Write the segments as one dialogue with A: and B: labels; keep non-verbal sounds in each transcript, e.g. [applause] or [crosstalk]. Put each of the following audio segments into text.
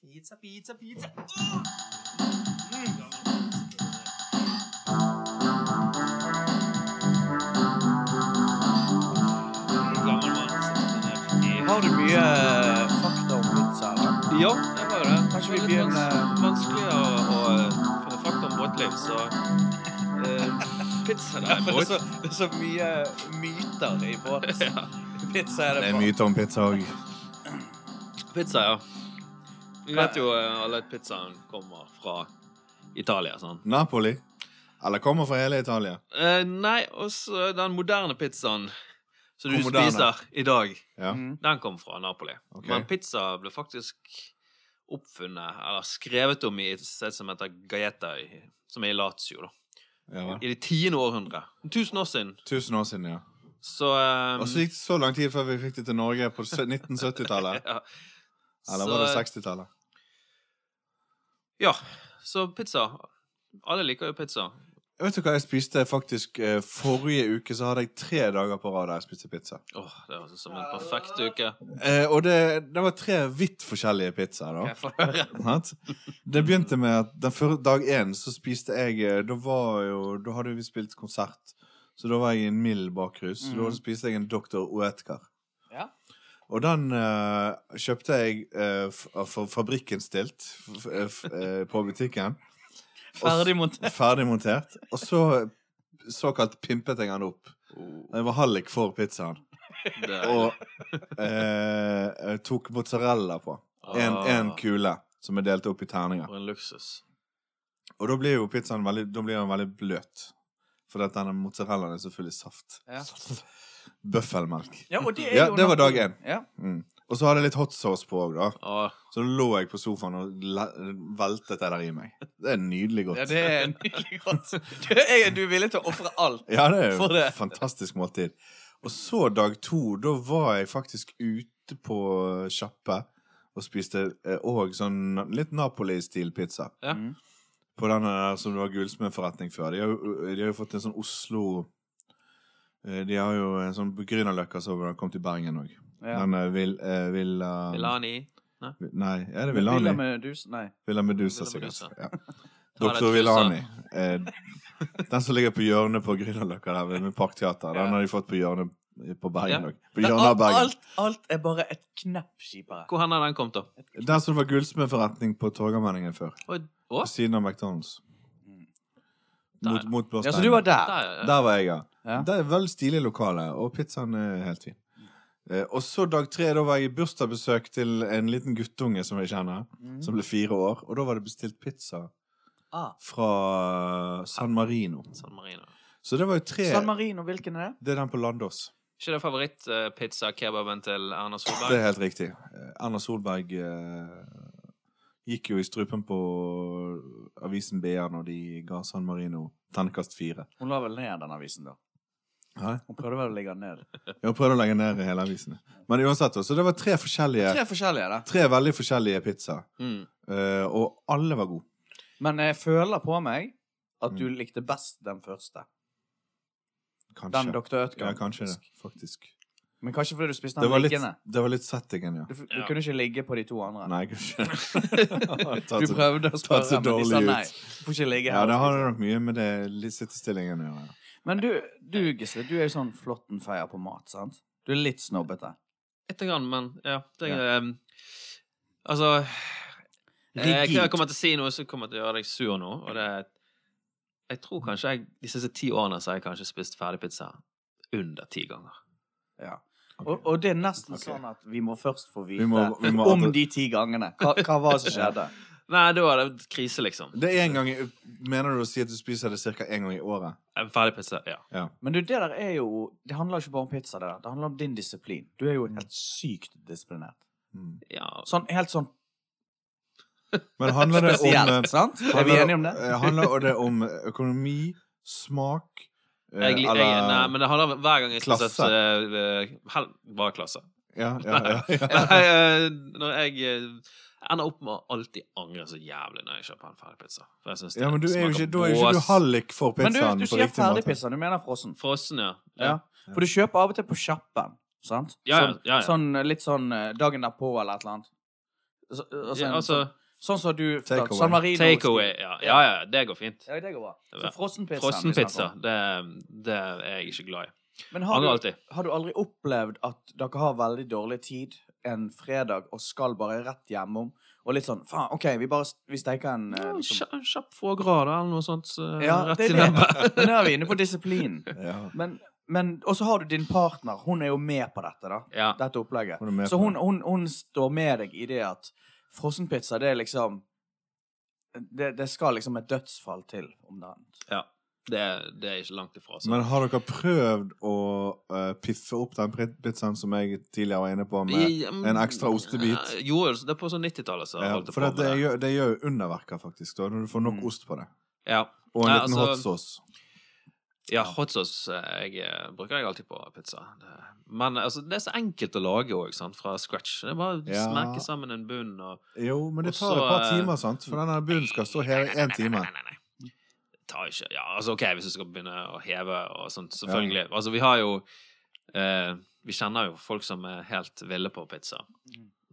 A: pizza, pizza, pizza.
B: Har du mye eh, fakta om pizza? eller?
C: Ja, det var jo det.
B: Kanskje
C: Det
B: vi eh,
C: var litt
B: begynner-
C: vans- vanskelig å, å
B: eh,
C: finne fakta om båtliv, så eh, Pizza, [laughs] da.
B: For
C: er
B: det er
C: båt.
B: så, det er så mye myter i
C: [laughs]
B: båt. Pizza er
D: Det
B: det
D: er
B: på.
D: mye om pizza òg.
C: Pizza, ja. Vi vet jo eh, alle at pizzaen kommer fra Italia. sånn.
D: Napoli. Eller kommer fra hele Italia.
C: Eh, nei, også den moderne pizzaen som du
D: Hvor moderne?
C: spiser i dag,
D: Ja.
A: Mm.
C: den kom fra Napoli.
D: Ok.
C: Men pizza ble faktisk oppfunnet, eller skrevet om i et sted som heter Gaeta, i- som er i Lazio, da.
D: Ja, vel.
C: I det tiende århundret. Tusen år siden.
D: Tusen år siden, ja.
C: Så eh,
D: Og så gikk det så lang tid før vi fikk det til Norge på sø- [laughs] 1970-tallet.
C: ja.
D: Eller var det
C: Så- eh,
D: 60-tallet?
C: Ja. Så pizza. Alle liker jo pizza.
D: Vet du hva jeg spiste faktisk eh, forrige uke? Så hadde jeg tre dager på rad der jeg spiste pizza.
C: Åh, det høres ut som en perfekt uke.
D: Eh, og det, det var tre vidt forskjellige pizzaer, da.
C: Jeg får høre.
D: Sant? Det begynte med at den før, dag én så spiste jeg eh, Da var jo Da hadde vi spilt konsert, så da var jeg i en mild bakrus. Så Da
A: Mhm.
D: spiste jeg en Dr. Oetker.
C: Ja.
D: Og den eh, kjøpte jeg eh, f- fra fabrikken stilt f f eh, på butikken.
A: Ferdig mot
D: Ferdig montert. Og så såkalt pimpet jeg den opp. Den var hallik for pizzaen.
C: Oh, Det,
D: Og eh, jeg tok mozzarella på. En,
C: Ah.
D: en kule som er delt opp i terninger.
C: For en luksus.
D: Og da blir jo pizzaen veldig, da blir den veldig bløt. Fordi at denne mozzarellaen er så full i saft.
A: Ja.
D: Bøffelmelk.
A: Ja, og det, er
D: Ja,
A: jo
D: det var dag
A: Napoli.
D: én.
A: Ja.
D: Mm. Og så hadde jeg litt hot sauce på òg, da.
C: Åh,
D: Så da lå jeg på sofaen og le- veltet det der i meg. Det er nydelig godt.
A: ja, det er nydelig godt. Du er, du er villig til å ofre alt.
D: Ja, det er jo
A: For det.
D: et fantastisk måltid. Og så dag to, da var jeg faktisk ute på sjappe og spiste òg sånn litt Napoli-stil pizza.
C: Ja.
A: Mm.
D: På den der som det var gullsmedforretning før. De har, jo- de har jo fått en sånn Oslo eh, De har jo en sånn på Grünerløkka som har kommet til Bergen òg.
A: Ja.
D: Den eh, vil, eh, Villa
C: Milani.
D: Nei, er det
A: Villa
D: Villani?
A: med dus? Nei.
D: Villa Medusa,
C: Villa Medusa.
D: sikkert.
C: [laughs]
D: Ja.
C: Ta deg
D: Doktor
C: tusen.
D: Villani. Eh, den som ligger på hjørnet på Grünerløkka der ved- med Parkteater. Den
A: Ja.
D: har de fått på hjørnet eh, på Bergen
C: Ja.
D: òg. På hjørnet av Bergen.
A: Alt, alt er bare et knepp kjipere.
C: Hvor hen er den kommet, da?
D: Der som det var gullsmedforretning på Torgallmenningen før.
C: Oi,
D: På
C: Å,
D: siden av McDonald's.
C: Mm. Der,
D: Mot, mot Blå
A: Ja, så
D: Stein.
A: du var der?
C: der.
D: Der var jeg, ja.
A: Ja.
D: Det er veldig stilig lokale, og pizzaen er helt fin. Eh, og så dag tre, da var jeg i bursdagsbesøk til en liten guttunge som jeg kjenner,
A: Mm.
D: som ble fire år, og da var det bestilt pizza
A: Ah.
D: fra San Marino.
C: San Marino.
D: Så det var jo tre
A: San Marino, hvilken er det?
D: Det er den på Landås.
C: Ikke det favorittpizza-kebaben til Erna
D: Det
C: Solberg?
D: er helt riktig. Eh, Erna Solberg eh, gikk jo i strupen på avisen BA når de ga San Marino terningkast fire.
A: Hun la vel ned den avisen, da.
D: Hæ?
A: Hun prøvde vel å legge den ned.
D: Jeg prøvde å legge ned hele avisen. Men uansett, så det var tre forskjellige
A: Tre forskjellige, da.
D: Tre veldig forskjellige pizzaer.
C: Mm.
D: Eh, og alle var gode.
A: Men jeg føler på meg at
D: Mm.
A: du likte best den første.
D: Kanskje.
A: Den Dr.
D: ja,
A: Ødgar.
D: kanskje det, faktisk.
A: Men kanskje fordi du spiste
D: Det
A: den
D: var litt,
A: liggende.
D: det var litt settingen, ja.
A: Du, du
C: Ja.
A: kunne ikke ligge på de to andre.
D: Nei,
A: [laughs]
D: kanskje.
A: Du prøvde å spørre, men
D: tatt så
A: de sa
D: dårlig ut.
A: nei. Du får ikke ligge
D: Ja,
A: her.
D: det har nok mye med det litt sittestillingen å gjøre.
A: Men du, du Gisle, du er jo sånn flåttenfeier på mat, sant? Du er litt snobbete.
C: Lite grann, men ja. Det,
A: Ja.
C: er, em, altså eh, jeg,
A: Rigid.
C: jeg kommer til å si noe som kommer til å gjøre deg sur nå, og det er Jeg tror kanskje jeg de siste ti årene så har jeg kanskje spist ferdigpizza under ti ganger.
A: Ja.
D: Ok.
A: Og, og det er nesten
D: Ok.
A: sånn at vi må først få vite
D: Vi må- vi må
A: om
D: adre-
A: de ti gangene. Hva, hva var det som skjedde?
C: Nei, da er det krise, liksom.
D: Det er en gang i- Mener du å si at du spiser det ca. én gang i året?
C: En Eh, ferdigpizza, ja.
A: Men du, det der er jo Det handler ikke bare om pizza, det der. Det handler om din disiplin. Du er jo helt sykt disiplinert.
D: Mm.
C: ja. altså.
A: Sånn helt sånn
D: Men handler det om
A: spesielt, sant? Er vi enige om det?
D: eh, Handler det om økonomi, smak eh,
C: Jeg, jeg, nei, men det handler om hver gang jeg
D: Klasse.
C: spiser et eh, hel, Bare klasse.
D: ja,
A: [laughs]
D: ja, ja, ja.
C: Nei, eh, når jeg eh, ender opp med å alltid angre så jævlig når jeg kjøper en ferdigpizza. For jeg synes det
D: ja, men du er jo
C: smaker
D: ikke, da er jo ikke du
C: bås.
D: hallik for
A: Men du,
D: pizzaen
A: du
D: på
A: sier
D: riktig måte.
A: ferdigpizza. Du mener frossen.
C: Frossen, ja.
A: Ja. For du kjøper av og til på sjappen. Sant?
C: Ja, ja,
A: Sånn,
C: ja, ja.
A: sånn, eh, litt sånn eh, dagen derpå eller et eller annet. Så, eh, altså,
C: ja
A: en
C: altså,
A: Sånn som du
D: Take away.
A: San Marino.
C: Takeaway. Ja. ja, ja, det går fint.
A: Ja, det går bra.
C: Ja.
A: Så frossenpizza.
C: Frossenpizza, det, det er jeg ikke glad i.
A: Men
C: Angrer
A: har du,
C: alltid.
A: har du aldri opplevd at dere har veldig dårlig tid en fredag og skal bare rett hjemom? Og litt sånn Faen, OK, vi bare vi steiker en eh,
C: Ja,
A: liksom-
C: kja- en kjapp foie gras, da, eller noe sånt. så-
A: Ja,
C: rett
A: det
C: i
A: er
C: nebbet.
A: det. [laughs]
D: [laughs]
A: Men da er vi inne på disiplinen.
D: Ja.
A: Men, men Og så har du din partner. Hun er jo med på dette, da.
C: Ja.
A: Dette opplegget.
D: Hun er med
A: så
D: på
A: hun,
D: det.
A: hun, hun står med deg i det at frossenpizza, det er liksom det, det skal liksom et dødsfall til om dagen.
C: ja. Det, er- det er ikke langt ifra. altså. Så.
D: Men har dere prøvd å eh, piffe opp den pri- pizzaen som jeg tidligere var inne på, med
C: I- um,
D: en ekstra ostebit?
C: eh, Jo, det er på sånn 90-tallet så
D: Ja,
C: holdt jeg på
D: Eh, for det,
C: med det.
D: gjør, det gjør jo underverker, faktisk, da, når du får nok
A: Mm.
D: ost på det.
C: Ja,
D: Og en
C: Nei,
D: liten
C: altså-
D: hot sauce.
C: ja hot sauce eh, jeg, eh, bruker jeg alltid på pizza. Det- Men altså, det er så enkelt å lage òg, sant, fra scratch. Det er bare å
D: Ja.
C: smekke sammen en bunn og
D: Jo, men det
C: Og så,
D: tar et par
C: eh,
D: timer, sant? For denne bunnen skal stå her i én time.
C: Nei, nei, nei. nei. Det tar ikke Ja, altså, OK, hvis du skal begynne å heve og sånt, selvfølgelig. Altså, vi har jo eh, Vi kjenner jo folk som er helt ville på pizza.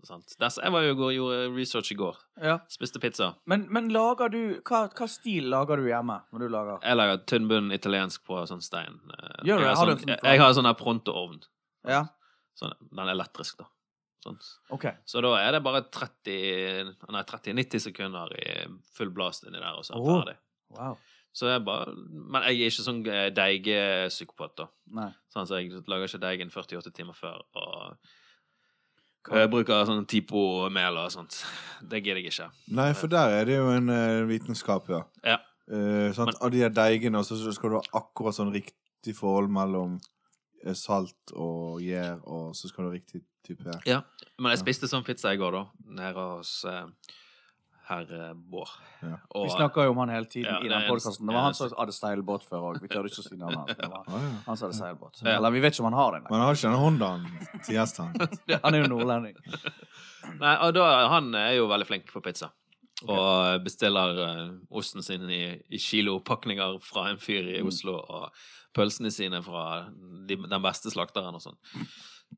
C: Sant? Der, jeg var jo i går, gjorde research i går.
A: Ja.
C: Spiste pizza.
A: Men, men lager du hva, hva stil lager du hjemme når du lager?
C: Jeg lager tynn bunn italiensk på sånn stein. Eh,
A: Gjør du det?
C: jeg, har
A: Har du
C: sånn,
A: en sånn
C: jeg, jeg har sånn her pronto-ovn.
A: Ja.
C: Sånn, den er elektrisk, da. Sånn.
A: OK.
C: Så da er det bare 30 Nei, 30-90 sekunder i full blast inni der, og så er den
A: Åh.
C: ferdig.
A: Wow.
C: Så jeg bare Men jeg er ikke sånn eh, deigpsykopat, da.
A: Nei.
C: Sånn, så jeg lager ikke deigen 48 timer før. Og
A: Hva-
C: jeg bruker sånn Tipo-mel og sånt. Det gidder jeg ikke.
D: Nei, for der er det jo en eh, vitenskap, ja.
C: Ja.
D: Eh, sant? Av de der deigene, og så skal du ha akkurat sånn riktig forhold mellom eh, salt og gjær, og så skal du ha riktig type gjær.
C: Men
D: Ja.
C: jeg spiste sånn pizza i går, da. Nede hos eh, herr eh, Bård.
D: Ja.
C: Og,
A: Vi snakker jo om han hele tiden
C: Ja,
A: i
C: det er
A: den podkasten. Det var han
C: eneste-
A: som hadde seilbåt før òg. Vi tør ikke å si navnet hans. men det var
D: Ah, ja.
A: Han som hadde seilbåt.
C: Ja.
A: Eller vi vet ikke om han har det. nei.
D: Men har ikke den Hondaen til gjesten?
A: Han er jo [laughs] nordlending.
C: Nei, og da, han er jo veldig flink på pizza. Og bestiller eh, osten sin i, i kilopakninger fra en fyr i
D: Mm.
C: Oslo, og pølsene sine fra de, den beste slakteren og sånn.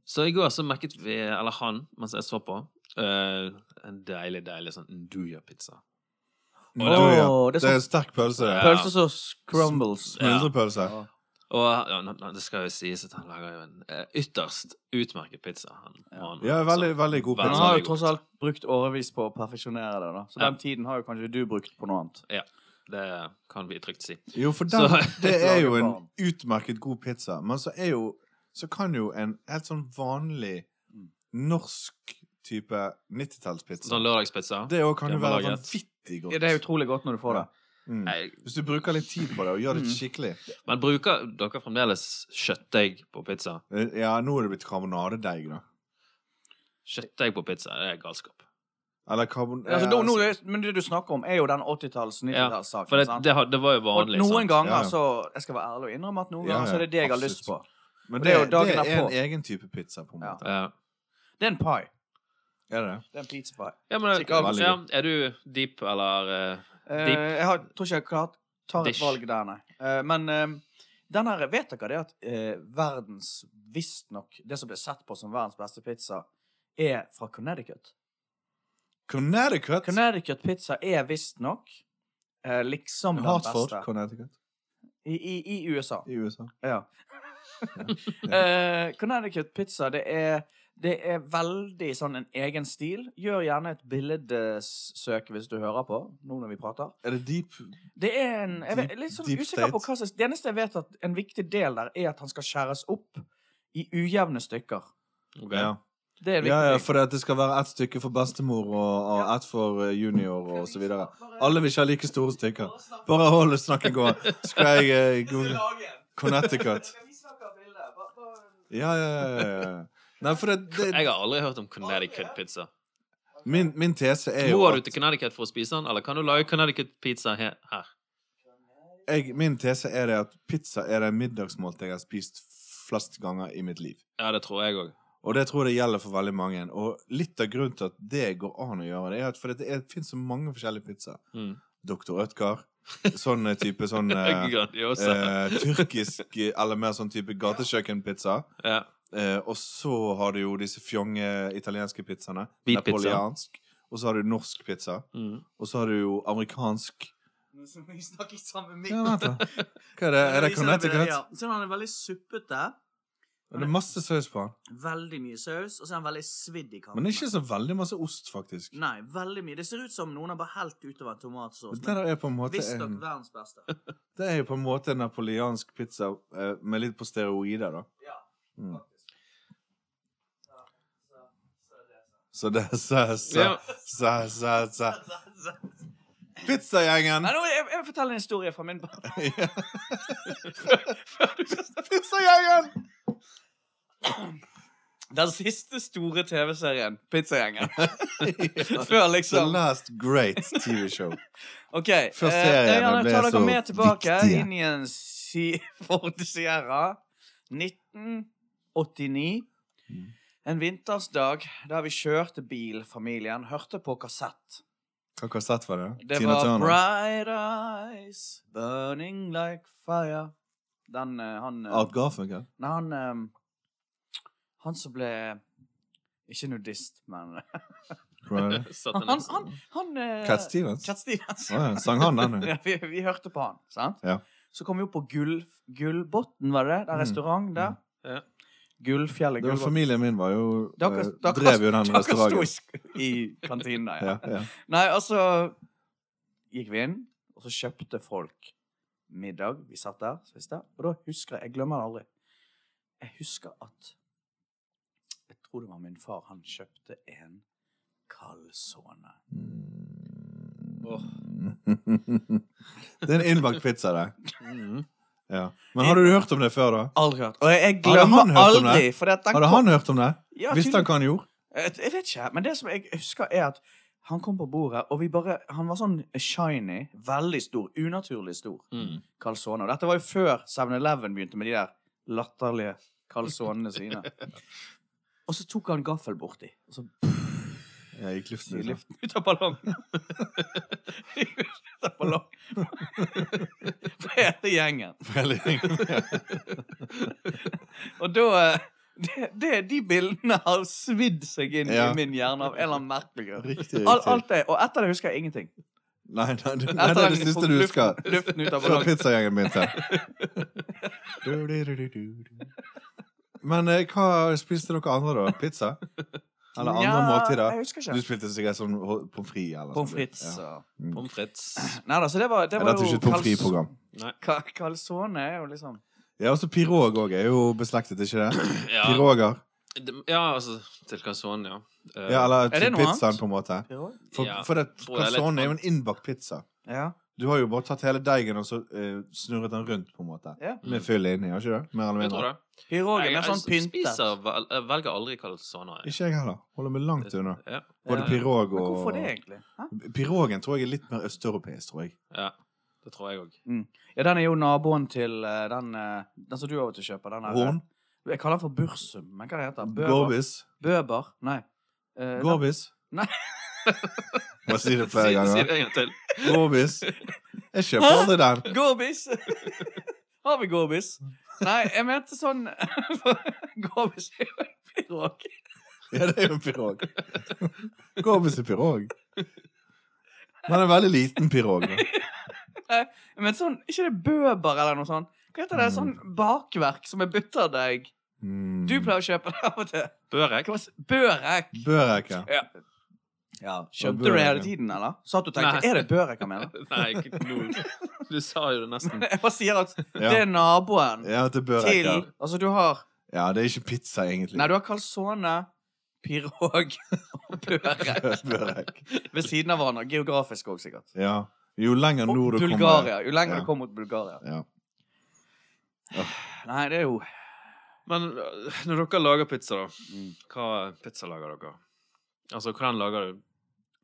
C: Så i går så merket vi, eller han, mens jeg så på, eh, en deilig, deilig sånn nduja-pizza.
D: Du,
A: Åh,
D: ja.
A: det er sånn-
D: Det er en sterk pølse, det.
C: Ja.
A: Pølser som crumbles.
D: Smuldrepølse.
A: Ja.
C: Og ja, nå- nå- det skal jo sies at han lager jo en eh, ytterst utmerket pizza. Han, han,
D: Ja, veldig- veldig god
A: Men
D: pizza.
A: han har jo
C: god
A: tross
C: pizza.
A: alt brukt årevis på å perfeksjonere det, da. Så
C: Ja.
A: den tiden har jo kanskje du brukt på noe annet.
C: Det kan vi trygt si.
D: Jo, for den,
C: Så-
D: [laughs] det er
A: [laughs]
D: jo en
A: Lagerbarn.
D: utmerket god pizza, men så er jo Så kan jo en helt sånn vanlig
A: Mm.
D: norsk type 90-tallspizza
C: Sånn lørdagspizza.
D: Det òg kan jo
C: Det er
D: være
C: laget.
D: vanvittig godt.
A: Ja, det er utrolig godt når du får det.
D: Mm.
C: Nei,
D: Hvis du bruker litt tid på det og gjør
A: Mm.
D: det skikkelig
C: Men bruker dere fremdeles kjøttdeig på pizza?
D: Eh, Ja, nå er det blitt karbonadedeig, da.
C: Kjøttdeig på pizza, det er galskap.
D: Eller karbon...
A: Altså,
D: eh,
A: nå, nå,
D: altså-
A: er- men det du snakker om, er jo den 80-talls,
C: For
A: 90-tallssaken.
C: det,
A: sant?
C: det, har- det var jo
A: Og
C: vanlig.
A: noen
C: sant?
A: ganger
D: Ja, ja.
A: så Jeg skal være ærlig og innrømme at noen
D: Ja,
A: ganger så er det det jeg har lyst på.
D: absolutt. Men
A: Og
D: det,
A: det er jo
D: det
A: dagen
D: er,
A: derpå.
D: en egen type pizza, på en
A: Ja.
D: måte.
C: Ja.
A: Det er en pie.
D: Er det det?
A: Det er en pizza pie.
C: Ja, men,
A: Sikkert
D: veldig
C: ja, er du deep eller eh,
A: Eh,
C: Dip.
A: jeg har, tror ikke jeg klart tar et
C: Dish.
A: valg der, nei. Eh, men eh, den her, vet dere det at eh, verdens Visstnok det som ble sett på som verdens beste pizza, er fra Connecticut.
D: Connecticut?
A: Connecticut pizza er visstnok eh, liksom den
D: Hartford,
A: beste
D: Connecticut.
A: i, i, i USA.
D: I USA.
A: Ja. Eh, Connecticut pizza, det er det er veldig sånn en egen stil. Gjør gjerne et bildesøk hvis du hører på, nå når vi prater.
D: Er det deep
A: Det er en jeg vet,
D: Deep-
A: litt sånn
D: deep
A: usikker på
D: state.
A: hva slags Det eneste jeg vet, at en viktig del der er at han skal skjæres opp i ujevne stykker.
C: ok.
D: Ja.
A: Det er en viktig.
D: Ja, ja,
A: ting.
D: for det, at det skal være ett stykke for bestemor og, og ett for eh, junior og så videre. Alle vil ikke ha like store stykker. Bare hold snakket gående. Skal jeg eh,
C: [laughs]
D: google Connecticut? Ja, ja, ja, ja, ja. Nei, for det, det
C: Jeg har aldri hørt om Connecticut-pizza.
D: min, min tese er jo
C: Må du
D: at
C: til Connecticut for å spise den, eller kan du lage Connecticut-pizza he- her?
D: jeg, Min tese er det at pizza er det middagsmålet jeg har spist flest ganger i mitt liv.
C: Ja, det tror jeg òg.
D: Og det tror jeg det gjelder for veldig mange. Og litt av grunnen til at det går an å gjøre, det er at for det, er- det fins så mange forskjellige pizzaer.
C: Mm.
D: Dr. Ødgar. Sånn eh, type
C: [laughs]
D: sånn eh,
C: Grandiosa.
D: eh, tyrkisk eh, eller mer sånn type gatekjøkkenpizza.
C: Ja.
D: Eh, og så har du jo disse fjonge italienske pizzaene.
C: Hvit pizza.
D: Napoleansk. og så har du norsk pizza,
C: Mm.
D: og så har du jo amerikansk
A: Nå som vi snakker sammen med
D: Ja, vent da. [laughs] Hva er det? Er det Connecticut?
A: Ja. Så den er veldig suppete.
D: Det er masse saus på den.
A: Veldig mye saus, og så er den veldig svidd i kanten.
D: Men ikke så veldig masse ost, faktisk.
A: Nei, veldig mye. Det ser ut som noen har bare helt utover en tomatsås.
D: Det der er på en måte
A: Visstnok
D: en,
A: verdens beste.
D: Mm. Det er jo på en måte en napoleansk pizza eh, med litt på steroider, da.
A: Ja,
D: Mm.
A: faktisk. Ja, så- så er det
D: Så det er sa, sa,
C: Ja.
D: sa, sa, sa.
A: [laughs] sånn.
D: Pizzagjengen!
A: Nei, nå, jeg, jeg forteller en historie fra min
D: [laughs]
A: barndom.
D: Pizzagjengen!
A: Den siste store TV-serien,
D: [laughs]
A: Pizzagjengen. Før
D: The
A: liksom
D: Last Great TV Show.
A: OK. eh,
D: Før
A: jeg
D: seriene
A: gjerne
D: ble
A: tar
D: så
A: dere med tilbake
D: viktige.
A: inn i en si [laughs] Ford Sierra 1989.
D: Mm.
A: En vintersdag der vi kjørte bil, familien, hørte på kassett.
D: Hva kassett var det?
A: Det var Bright Eyes Burning Like Fire. Den eh, han eh,
D: Art Garfunkel?
A: Nei, han ehm, Han som ble Ikke nudist, men [laughs]
D: Hva er det?
A: Han,
C: Satanist.
A: han, han eh,
D: Cat Stevens?
A: Cat Stevens.
D: Å ja, sang han den?
A: [laughs] ja, vi, vi hørte på han, sant?
D: Ja.
A: Så kom vi opp på Gull, Gullbotn, var det det? Det er
D: Mm.
A: restaurant der.
C: Ja.
A: Gullfjellet,
D: Det var
A: Gullbotn.
D: familien min var jo
A: Dere-
D: eh,
A: dere-
D: Drev jo den
A: Dere sto i,
D: restauranten.
A: sk- i kantinen der, ja.
D: Ja, ja.
A: Nei, altså Gikk vi inn, og så kjøpte folk middag. Vi satt der, spiste. Og da husker jeg Jeg glemmer det aldri. Jeg husker at Jeg tror det var min far. Han kjøpte en calzone.
D: Det er en innbakt pizza, det.
C: Mm.
D: Ja. Men hadde du hørt om det før, da?
A: Aldri hørt. Og jeg- jeg
D: Hadde han
A: glemmer
D: hørt om
A: aldri, for det at den
D: Hadde
A: kom-
D: han hørt om det?
A: Ja,
D: Visste han hva han gjorde?
A: Jeg, jeg vet ikke, men det som jeg husker er at han kom på bordet, og vi bare Han var sånn shiny, veldig stor, unaturlig stor
C: Mm.
A: calzone. Og dette var jo før 7-Eleven begynte med de der latterlige calzonene sine.
D: [laughs]
A: Og så tok han gaffel borti, og så [laughs]
D: Jeg gikk luften [laughs]
A: i
D: ut.
A: luften ut av ballongen. ut av [laughs] ballongen. For hele gjengen. Og da eh, det, det, De bildene har svidd seg inn
D: Ja.
A: i min hjerne av en eller annen merkelig grunn.
D: Riktig. riktig.
A: All, alt det, og etter det husker jeg ingenting.
D: Nei, nei, det, nei,
A: Etter
D: det er
A: den
D: det siste
A: tok
D: du
A: luften-
D: husker
A: Luften ut av
D: [laughs] fra
A: ballongen.
D: pizzagjengen begynte. Du-du-du-du-du-du. Men eh, hva spiste dere andre, da? Pizza? Eller andre
A: Nja,
D: måltider?
A: Jeg husker
D: Du
A: ikke.
D: spilte sikkert sånn ho- pommes frites eller
A: Pommes
D: sånt.
A: frites
D: Ja.
A: og
C: [laughs] Pommes
A: [clears throat]
C: frites.
A: Nei da, så det var, det
D: Nei,
A: var
D: Dette er
A: jo
D: ikke et pommes frites-program.
A: Ka- Calzone er jo liksom
D: Ja, også pirog òg er jo beslektet, ikke det?
C: Ja.
D: Piroger.
C: Det- ja, altså Til calzone, ja. Eh,
D: Ja, eller
A: Er det
D: til
A: noe
D: pizzaen,
A: annet?
D: på en måte.
A: pirog.
D: For,
C: Ja,
D: for det,
C: tror jeg er litt
D: calzone er jo en innbakt pizza.
A: Ja.
D: Du har jo bare tatt hele deigen og så eh, snurret den rundt, på en måte.
A: Ja.
D: Med fyll inni, har ikke det? Mer eller
C: Jeg tror
D: mindre.
C: det.
A: Pirog er
C: Jeg-
A: mer
C: jeg
A: sånn pyntet.
C: spiser vel- jeg velger aldri calzone. jeg.
D: Ikke jeg heller. Holder meg langt unna.
C: Ja.
D: Både
C: Ja.
D: pirog
A: Men
D: og
A: hvorfor det, egentlig? Hæ?
D: Pirogen tror jeg er litt mer østeuropeisk, tror jeg.
C: ja. Det tror jeg òg.
A: Ja, den er jo naboen til eh, den, eh, den som du av og til kjøper. Den her,
D: Horn?
A: Jeg kaller den for Bursum, men hva heter den? Bøber?
D: Gorbis?
A: Bøber? Nei. Eh,
D: Gorbis?
A: Nei.
D: [laughs] Må si det
C: Si,
D: flere
C: si
D: ganger.
C: det en gang til.
D: Gorbis. Jeg kjøper aldri den.
A: den- Gorbis! [laughs] Har vi Gorbis?
D: Mm.
A: Nei, jeg mente sånn [laughs] Gorbis er jo en pirog.
D: Ja, det er jo en pirog. Gorbis er pirog. Men en veldig liten pirog. da.
A: Men sånn, ikke det bøber eller noe sånt? Hva heter det? Sånn bakverk som er butterdeig.
D: Mm.
A: Du pleier å kjøpe det av og til.
C: Børek?
A: Hva s- Børek.
D: Børek, ja.
A: Ja. ja Kjøpte du
D: børek,
A: det hele
D: ja.
A: tiden, eller? Satt du og tenkte
C: Nei.
A: Er det børek han
D: [laughs]
A: mener?
C: [laughs] Nei, ikke nå. Du sa jo det nesten.
A: Jeg bare sier at det
D: Ja,
A: er naboen
D: ja til børek,
A: til
D: ja.
A: Altså, du har
D: ja. Det er ikke pizza, egentlig.
A: Nei, du har calzone, pirog og
D: [laughs]
A: børek
D: børek.
A: ved siden av hverandre. Geografisk òg, sikkert.
D: Ja. Jo lenger
A: Og
D: nord du kommer
A: Bulgaria. Jo lenger
D: Ja.
A: du kommer mot Bulgaria.
D: Ja.
A: Nei, det er jo
C: Men øh, når dere lager pizza, da,
A: Mm.
C: hva pizza lager dere? Altså, hvordan lager du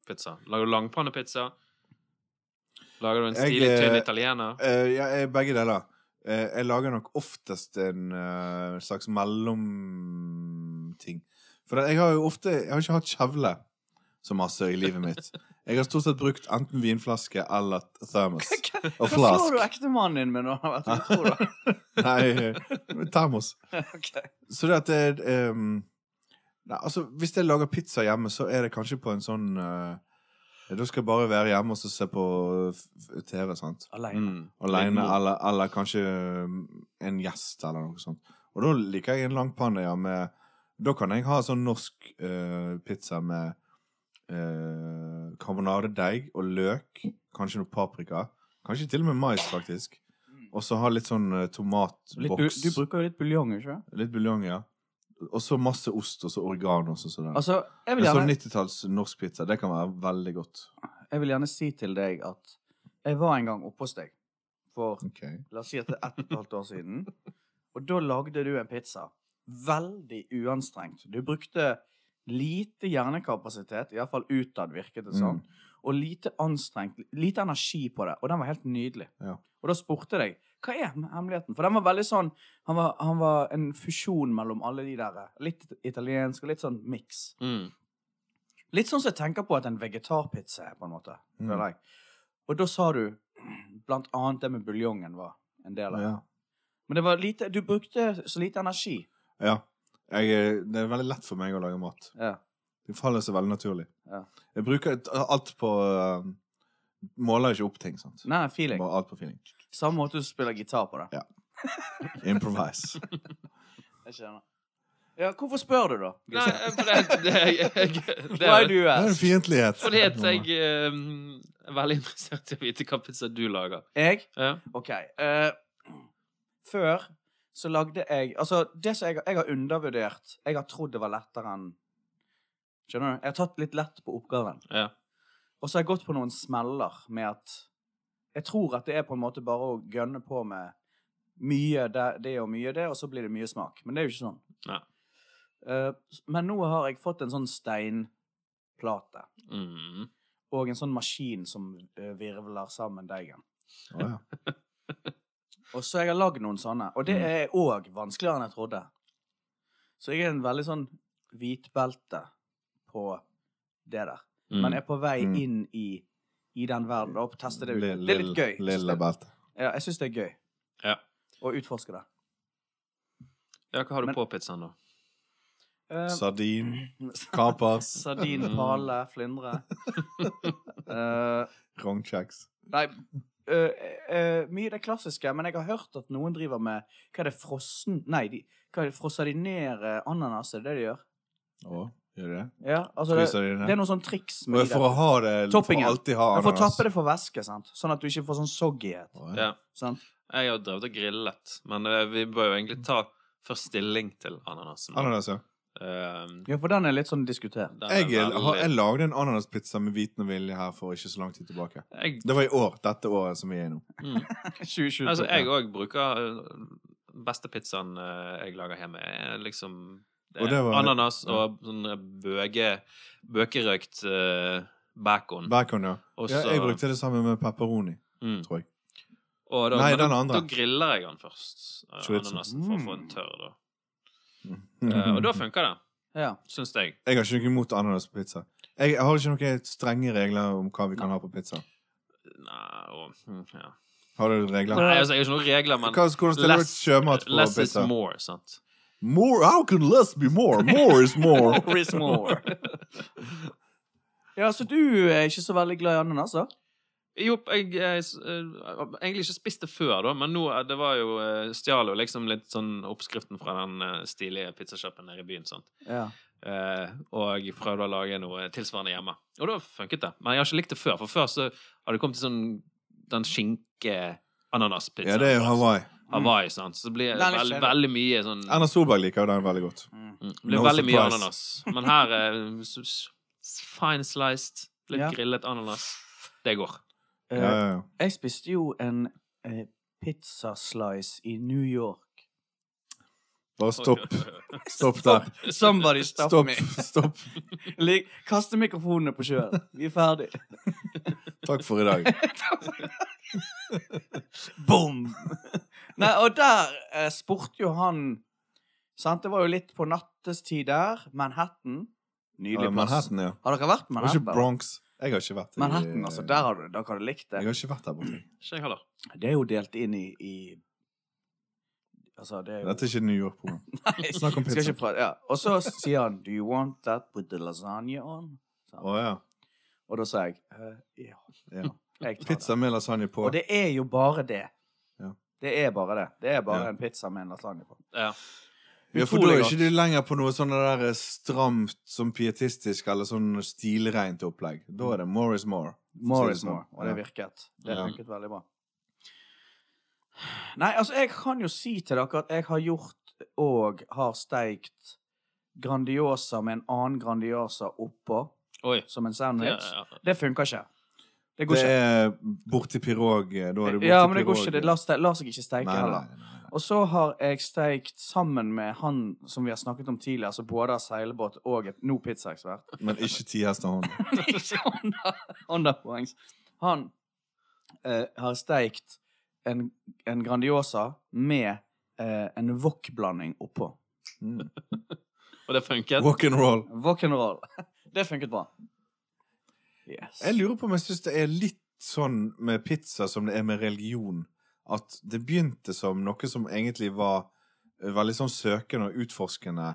C: pizza? Lager du langpannepizza? Lager du en
D: Jeg,
C: stilig, tynn
D: eh,
C: italiener?
D: Eh, ja, jeg- begge deler. Eh, jeg lager nok oftest en eh, slags mellomting. For jeg har jo ofte Jeg har ikke hatt kjevle så masse i
A: [laughs]
D: livet mitt. Jeg har stort sett brukt enten vinflaske eller thermos. Og
A: [laughs] Hva slår du
D: flask.
A: ektemannen din med når han har vært utro, da?
D: [laughs] Nei, eh, termos.
A: [laughs] Ok.
D: Så det at det er, ehm, Nei, altså, hvis jeg lager pizza hjemme, så er det kanskje på en sånn eh, Da skal jeg bare være hjemme og så se på f- f- TV, sant?
A: Alene.
D: Alene,
C: mor.
D: eller, eller kanskje um, en gjest, eller noe sånt. Og da liker jeg en lang panne, ja, med Da kan jeg ha sånn norsk eh, pizza med uh, karbonadedeig og løk, kanskje noe paprika. Kanskje til og med mais, faktisk. Og så ha litt sånn eh,
A: Litt bu
D: tomatboks.
A: du bruker jo litt buljong, ikke sant?
D: Litt buljong, ja. Og så masse ost, og så oregano og sånn.
A: Altså, jeg vil,
D: En sånn
A: gjerne,
D: 90-talls norsk pizza, det kan være veldig godt.
A: jeg vil gjerne si til deg at jeg var en gang oppe hos deg for
D: Ok.
A: La oss si at det er ett og et halvt år siden. Og da lagde du en pizza. Veldig uanstrengt. Du brukte lite hjernekapasitet, iallfall utad virket
D: Mm.
A: det som, og lite anstrengt, lite energi på det. Og den var helt nydelig.
D: Ja.
A: Og da spurte jeg hva er hemmeligheten? For den var veldig sånn Han var, han var en fusjon mellom alle de der. Litt italiensk og litt sånn miks.
C: Mm.
A: Litt sånn som jeg tenker på at en vegetarpizza er, på en måte.
D: Mm.
A: føler jeg. Og da sa du blant annet det med buljongen var en del av det.
D: Ja.
A: Men det var lite, du brukte så lite energi.
D: ja. Jeg, er- det er veldig lett for meg å lage mat.
A: Ja.
D: Det faller seg veldig naturlig.
A: Ja.
D: Jeg bruker et- alt på øh, Måler ikke opp ting, sant.
A: Nei, feeling.
D: Bare alt på feeling.
A: Samme måte du spiller gitar på det.
D: Ja.
A: [laughs]
D: Improvise.
A: Jeg skjønner. Ja, hvorfor spør du, da?
C: Nei, for det, det, jeg, jeg, det
A: Why do you
D: Det er en
A: ask?
D: fiendtlighet.
C: Fordi at jeg eh, er veldig interessert i å vite hva pizza du lager.
A: Jeg?
C: Ja.
A: OK. eh, før så lagde jeg Altså, det som jeg, jeg har undervurdert Jeg har trodd det var lettere enn Skjønner du? Jeg har tatt litt lett på oppgaven.
C: Ja.
A: Og så har jeg gått på noen smeller med at Jeg tror at det er på en måte bare å gønne på med mye det, det og mye det, og så blir det mye smak. Men det er jo ikke sånn.
C: Nei.
A: Eh, s- men nå har jeg fått en sånn steinplate
C: Mm.
A: og en sånn maskin som eh, virvler sammen deigen.
D: Å,
A: [laughs]
D: ja.
A: Og så jeg har lagd noen sånne, og det er òg vanskeligere enn jeg trodde. Så jeg er en veldig sånn hvitbelte på det der.
C: Mm.
A: Men er på vei
D: Mm.
A: inn i, i den verden og teste det ut.
D: Lill-
A: Det er litt gøy. synes
D: Lilla
A: jeg.
D: belte.
A: Ja, jeg syns det er gøy
C: Ja.
A: å utforske det.
C: ja, hva har du
A: Men-
C: på pizzaen, da?
A: [laughs] Eh,
D: Sardin. Kapers.
A: Sardin,
C: Mm.
A: pale, flyndre. Eh,
D: Rognkjeks.
A: nei eh, eh, Mye av det klassiske, men jeg har hørt at noen driver med Hva er det frossen Nei, de, hva er det, frosser de ned eh, ananas? Er det det de gjør?
D: Å, gjør du det?
A: Ja, altså det,
D: Fryser de
A: det er
D: ned?
A: noe sånn triks
D: Og
A: med de
D: For å
A: der.
D: ha det For å
A: Toppingen.
D: alltid ha
A: Du får
D: ananas.
A: tappe det for væske, sant? sånn at du ikke får sånn soggyhet.
D: Å, ja.
C: Ja.
A: Sant?
C: Jeg har drevet og grillet, men eh, vi bør jo egentlig ta først stilling til ananasen.
D: Ananas, ja.
C: Eh,
A: Ja, for den er litt sånn
D: [laughs]
A: diskutert.
C: den er
D: Jeg, eh, har, jeg
C: veldig-
D: lagde en ananaspizza med viten og vilje her for ikke så lang tid tilbake.
C: jeg,
D: Det var i år. Dette året som vi er i nå.
C: mm.
A: 2023.
C: altså, jeg òg bruker eh, Beste pizzaen eh, jeg lager hjemme, er liksom det
D: Og
C: er
D: det var-
C: ananas
D: ja.
C: og sånn bøge, bøkerøkt eh,
A: Mm.
C: bacon.
D: Bacon, ja.
C: Og
D: ja.
C: så-
D: Jeg brukte det sammen med pepperoni,
C: Mm.
D: tror jeg.
C: Og da,
D: Nei,
C: men da-
D: den andre.
C: Da griller jeg den først, eh,
D: Chorizo.
C: ananasen, for å få den
A: Mm.
C: tørr. Da. Eh, og da funker det,
A: Ja.
C: syns jeg.
D: Jeg har ikke noe imot ananas på pizza. Jeg har ikke noen strenge regler om hva vi kan
A: Nei.
D: ha på pizza.
C: Nei, og, mm, ja.
D: Har du regler?
C: Nei, altså, jeg har ikke noen regler, men
D: Hva, hvordan stiller du ut
C: less-
D: sjømat på
C: less is
D: pizza? More.
C: more, sant?
D: How can less be more? More is more.
A: More is
D: [laughs]
A: more. [laughs] ja, så du er ikke så veldig glad i ananas, da?
C: Jo, jeg, jeg, s- eh, har egentlig ikke spist det før, da, men nå eh, det var jo eh, stjal jo liksom litt sånn oppskriften fra den eh, stilige pizzasjappen nede i byen. sant?
A: Ja.
C: Eh, og jeg prøvde å lage noe tilsvarende hjemme. Og da funket det. Men jeg har ikke likt det før, for før så har det kommet til sånn den skinke-ananaspizzaen.
D: Ja, det er Hawaii.
C: Hawaii, sant? Så det blir
A: Den er
C: veld,
A: kjedelig.
C: veldig mye sånn
D: Erna Solberg liker jo den veldig godt.
A: Mm.
C: Mm, Det blir
D: No
C: veldig mye
D: surprise.
C: ananas. Men her er s- s- s- fine sliced, litt
A: Ja.
C: grillet ananas. Det går.
A: Eh,
D: Ja, ja, ja.
A: jeg spiste jo en eh, pizzaslice i New York.
D: Bare [laughs] stopp. Stopp der.
A: Somebody stop,
D: Stopp.
A: me.
D: [laughs] Stopp.
A: Lik- Kaste mikrofonene på sjøen. Vi er ferdig.
D: Takk for i dag.
A: Boom! [laughs] Nei, og der eh, spurte jo han Sant, det var jo litt på nattestid der. Manhattan.
D: Ja,
A: Nydelig plass.
D: Manhattan, ja.
A: Har dere vært på
D: Og ikke
A: Manhattan?
D: Bronx. Jeg har ikke vært i- eh,
A: Manhattan, altså, der har du, dere har likt det.
D: Jeg har ikke vært der borte.
C: Ikke jeg heller.
A: Det er jo delt inn i, i Altså, det er jo
D: Dette er ikke New
A: [laughs]
D: York-program. Snakk om
A: Skal
D: pizza.
A: ikke prate, ja. Og så sier han 'Do you want that with the lasagne on?' sa han.
D: Å ja.
A: Og da sa jeg «Eh, ja.
D: ja.
A: [laughs] Jeg tar
D: Pizza med lasagne
A: det.
D: på.
A: Og det er jo bare det.
D: Ja.
A: Det er bare det. Det er bare
D: Ja.
A: en pizza med en lasagne på.
C: Ja.
D: Ja, for da
C: Utrolig
D: er
C: godt.
D: ikke du lenger på noe sånn der stramt, sånn pietistisk eller sånn stilreint opplegg. Da er det more is more.
A: More
D: det
A: is
D: sånn.
A: more. Og det
D: Ja.
A: virket. Det
D: Ja.
A: virket veldig bra. Nei, altså, jeg kan jo si til dere at jeg har gjort og har steikt Grandiosa med en annen Grandiosa oppå,
C: Oi.
A: som en
C: Ja,
A: sandwich.
C: ja.
A: Det funker ikke. Det går
D: Det
A: ikke.
D: er borti pirog. eh, Da er det borti
A: Ja, men det går
D: pirog.
A: ikke. Det lar seg- lar seg ikke steike
D: Nei,
A: heller.
D: nei, nei, nei.
A: Og så har jeg steikt sammen med han som vi har snakket om tidligere, altså både har seilbåt og et nå pizzaekspert.
D: Men ikke ti hester hånd.
A: Ikke Honda- Honda-poengs. Han eh, har steikt en, en Grandiosa med eh, en wok-blanding oppå.
D: Mm.
A: [laughs]
C: Og det funket?
D: Walk and roll.
A: Wok-and-roll. [laughs] Det funket bra. Yes.
D: Jeg lurer på om jeg syns det er litt sånn med pizza som det er med religion. At det begynte som noe som egentlig var eh, veldig sånn søkende og utforskende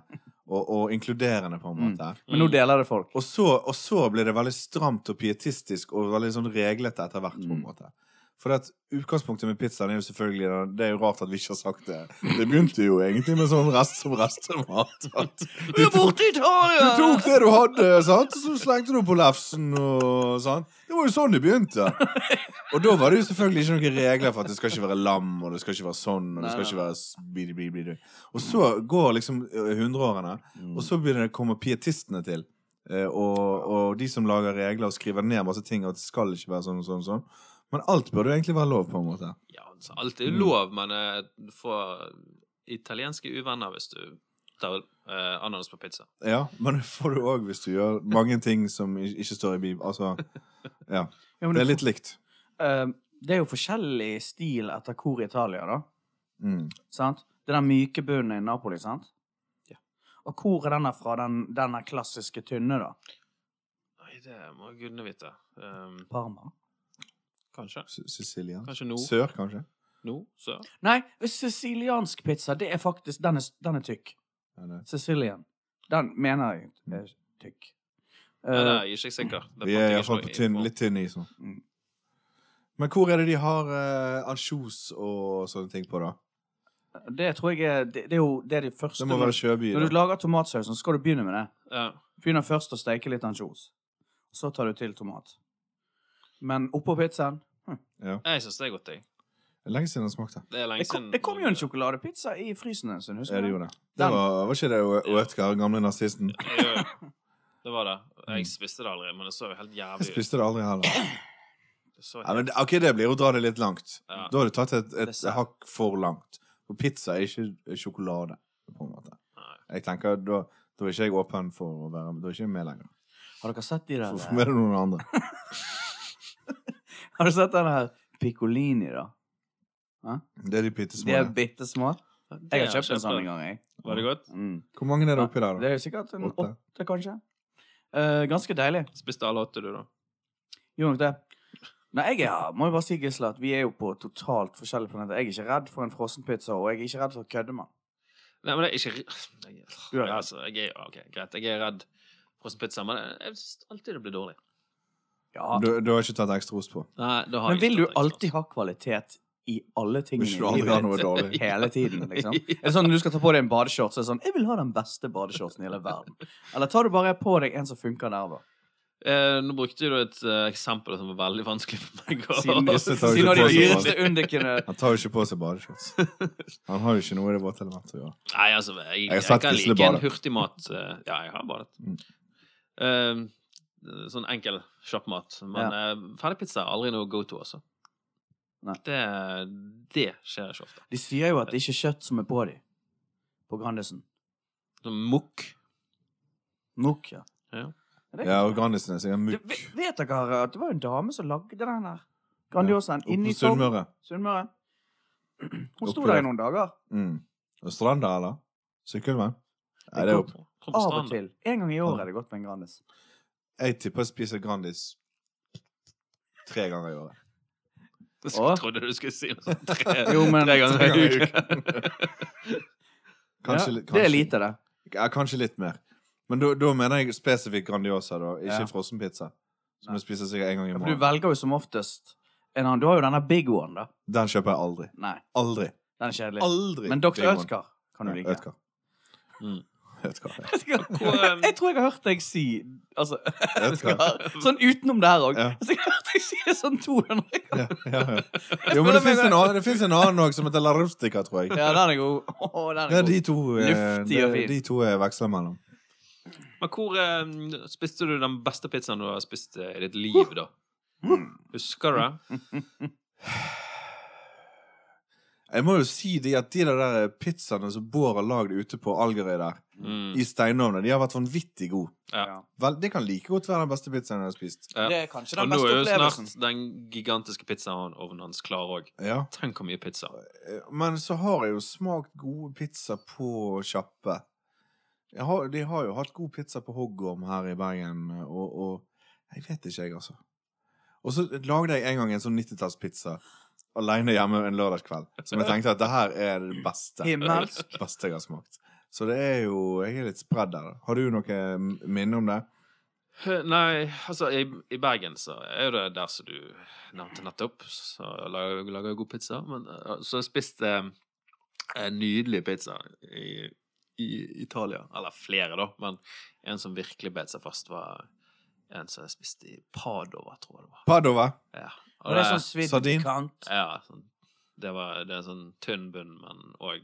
D: og, og inkluderende, på en
A: Mm.
D: måte.
A: Men nå deler det folk.
D: Og så, og så ble det veldig stramt og pietistisk og veldig sånn reglete etter hvert, på en
A: Mm.
D: måte. For at utgangspunktet med pizzaen er jo selvfølgelig den- Det er jo rart at vi ikke har sagt det. Det begynte jo egentlig med sånn rest som restemat. At du tok,
A: borte i Italia!
D: du tok det du hadde, sant? så slengte du på lefsen og sånn. Det var jo sånn det begynte. Og da var det jo selvfølgelig ikke noen regler for at det skal ikke være lam, og det skal ikke være sånn, og det skal
A: Nei,
D: ikke være s- bidi, bidi, bidi. Og så går liksom eh, hundreårene,
A: Mm.
D: og så begynner det å komme pietistene til. Eh, og, og de som lager regler og skriver ned masse ting, og at det skal ikke være sånn og sånn. og sånn. Men alt burde jo egentlig være lov, på en måte.
C: Ja, altså,
A: Mm.
C: alt er jo lov, men eh, du får italienske uvenner hvis du tar eh, ananas på pizza.
D: Ja, Men det får du òg hvis du gjør mange ting som i- ikke står i Bibelen. Altså, ja.
A: Ja, men
D: Det
A: du
D: er litt likt.
A: får- eh, det er jo forskjellig stil etter hvor i Italia, da.
D: Mm.
A: Sant? Det den myke bunnen i Napoli, sant? Og hvor er den der fra den, den der klassiske tynne, da?
C: Nei, det må gudene vite. Ehm,
A: Parma?
C: kanskje.
D: S- Sicilia.
C: Kanskje nå.
D: Sør, kanskje.
C: Nå? Sør?
A: Nei, siciliansk pizza, det er faktisk Den er, den er tykk.
D: Ja, det-
A: Sicilian. Den mener jeg
D: Mm.
A: er tykk.
C: Nei, nei,
A: Eh,
C: jeg er ikke sikker. Det
D: Vi
C: fant
D: er
C: jeg
D: iallfall
C: ikke
D: på
C: noe
D: tynn,
C: info om.
D: litt tynn is nå.
A: Mm.
D: Men hvor er det de har eh, ansjos og sånne ting på, da?
A: Eh, det tror jeg er Det, det er jo det er de første
D: Det må være Sjøby.
A: Når du
D: da.
A: lager tomatsaus, så skal du begynne med det.
C: Ja.
A: Begynner først å steke litt ansjos. Så tar du til tomat. Men oppå pizzaen
C: Jeg syns det er godt, jeg.
D: Det er Lenge siden jeg smakte.
C: Det er lenge
A: det kom,
C: siden
A: det kom
C: [laughs]
A: jo en sjokoladepizza i frysen en stund,
D: Ja,
A: husker
D: det
A: du?
D: gjorde det. Det var, var ikke det Ø- Oetker, gamle nazisten?
C: Jo, jo. Det var det.
A: Mm.
C: Jeg spiste det aldri, men det så jo helt
D: Jeg
C: jævlig ut.
D: spiste det aldri heller.
C: Det så
D: Ja,
C: helt...
D: men, det- ok, det blir å dra det litt langt.
C: Ja.
D: Da har du tatt et, et
A: Dessert.
D: hakk for langt. For pizza er ikke sjokolade, på en måte.
C: Nei.
D: Jeg tenker, Da, da er ikke jeg åpen for å være med. Da er ikke jeg med lenger.
A: Har dere sett de der
D: For, for med det noen andre.
A: Har du sett den her piccolini, da?
D: Det er de
A: De er
D: pittesmå.
A: bitte små.
C: Det
A: Jeg har
C: har
A: kjøpt en sånn en
C: prøvd.
A: gang, jeg.
C: Var det godt?
A: Mm.
D: Hvor mange er det oppi der,
A: Det
D: da?
A: er jo sikkert en
D: Åtte.
A: åtte, kanskje. Eh, ganske deilig.
C: Spiste alle åtte, du, da?
A: Gjorde nok det. Nei, jeg er, må jo bare si, Gisle, at vi er jo på totalt forskjellige planeter. Jeg er ikke redd for en frossenpizza, og jeg er ikke redd for å kødde med den.
C: Nei, men det er ikke re- [sighs] jeg,
A: Du er redd.
C: altså, jeg er, ok, Greit, jeg er redd frossenpizza, men jeg syns alltid det blir dårlig.
A: Ja.
D: Du, du har ikke tatt ekstra ost på?
C: Nei, da har
A: Men
C: jeg
A: vil du
C: ikke tatt sånn.
A: alltid ha kvalitet i alle tingene
D: Hvis du
A: i
D: aldri har noe
A: livet? [laughs]
D: dårlig.
A: Hele tiden,
C: [laughs]
A: liksom. Er det sånn når du skal ta på deg en badeshorts, så er det sånn 'Jeg vil ha den beste badeshortsen i hele verden'. Eller tar du bare på deg en som funker der,
C: [laughs]
A: da?
C: Eh, nå brukte du et eh, eksempel som var veldig vanskelig for meg å
A: Siden,
D: Gisle tar jo
A: siden av de
D: ikke på seg
A: dyreste undikene
D: Han tar jo ikke på seg badeshorts. Han har jo ikke noe i det våte elementet å gjøre.
C: [laughs] Nei, altså, jeg,
D: Jeg har
C: jeg,
D: sett
C: kan
D: Gisle
C: like en
D: bade.
C: hurtigmat eh, Ja, jeg har badet.
D: Mm.
C: Eh, sånn enkel kjappmat. Men eh, ferdigpizza er aldri noe go to, altså.
A: Nei.
C: Det, det skjer ikke ofte.
A: De sier jo at det ikke er kjøtt som er på dem. På Grandisen.
C: Sånn mukk.
A: Mokk, ja.
C: Ja.
A: Er det-
D: Ja, og Grandisen er sikkert
A: Du,
D: mukk
A: ve- vet dere at det var en dame som lagde den her Grandiosaen
D: oppe
A: inni sånn-
D: på
A: Sogn?
D: Sunnmøre.
A: Sunnmøre. Hun sto
D: Oppi
A: der
D: der.
A: i noen dager.
D: Mm. Og Stranda, eller? Sykkylven? Nei, det er
C: Kom-
D: opp.
C: kom på
A: Av og
C: stranden.
A: til. En gang i året er det godt med en Grandis.
D: Jeg tipper jeg spiser Grandis tre ganger i året.
C: Jeg
A: Å?
C: trodde du skulle si noe sånt tre, [laughs]
A: Jo, men-
C: tre ganger i
D: Tre
C: uken.
D: Kanskje,
A: ja,
D: litt-
A: Det er
D: kanskje-
A: lite, det.
D: Ja, kanskje litt mer. Men da da mener jeg spesifikt Grandiosa, da. Ikke
A: Ja.
D: frossenpizza. Som
A: Nei.
D: du spiser sikkert en gang i
A: Ja, for du
D: måneden.
A: velger jo som oftest en annen. Du har jo denne Big One, da.
D: Den kjøper jeg aldri.
A: Nei,
D: Aldri.
A: den er kjedelig.
D: Aldri.
A: Men Dr.
D: Big One.
A: Ødskar kan du [laughs]
D: Ja,
A: like.
D: Ødkar. [laughs]
C: Mm.
D: Ødkar.
C: Hvor,
A: Jeg tror jeg har hørt deg si
D: [laughs]
A: altså,
D: Ødkar.
A: Sånn utenom det her òg.
D: Ja.
A: Altså, jeg har hørt deg si det sånn 200 ganger.
D: Ja, ja, ja. Jo, men det fins en annen- det finnes en annen òg som heter La Rustica, tror jeg.
A: Ja, den er god. Åh, den er
D: Det er
A: god.
D: de to eh,
A: Luftig og
D: det-
A: fin.
D: De to jeg veksler mellom.
C: men hvor eh, spiste du den beste pizzaen du har spist eh, i ditt liv, da?
A: Mm.
C: Husker du det?
D: Jeg må jo si de at de der pizzaene som Bård har lagd ute på Algerøy der,
C: Mm.
D: i steinovnen, de har vært vanvittig gode.
C: Ja.
A: Ja.
D: Vel, det kan like godt være den beste pizzaen jeg har spist.
C: Ja.
A: Det er kanskje
C: Og
A: den
C: nå
A: beste
C: er jo
A: opplevelsen.
C: snart den gigantiske pizzaovnen hans klar òg.
D: Ja.
C: Tenk hvor mye pizza.
D: Eh, Men så har jeg jo smakt god pizza på kjappe. Jeg har, de har jo hatt god pizza på Hoggorm her i Bergen, og, og Jeg vet ikke, jeg, altså. Og så lagde jeg en gang en sånn 90-tallspizza aleine hjemme en lørdagskveld. Som jeg tenkte at det her er det beste,
A: Himmelsk.
D: beste jeg har smakt. Så det er jo Jeg er litt spredd der. da. Har du noe minne om det?
C: Eh, Nei, altså i, i Bergen så er jo det der som du nevnte nettopp. Så lager jeg lager jeg god pizza. Men eh, så jeg spiste eh, en nydelig pizza i, i Italia. Eller flere, da. Men en som virkelig bet seg fast, var en som jeg spiste i Padova, tror jeg det var.
D: Padova.
C: Ja. Og
A: Og det er
C: det-
A: sånn
D: Sardin.
A: svidd kant.
C: ja, sånn. det, var, det er en sånn tynn bunn, men òg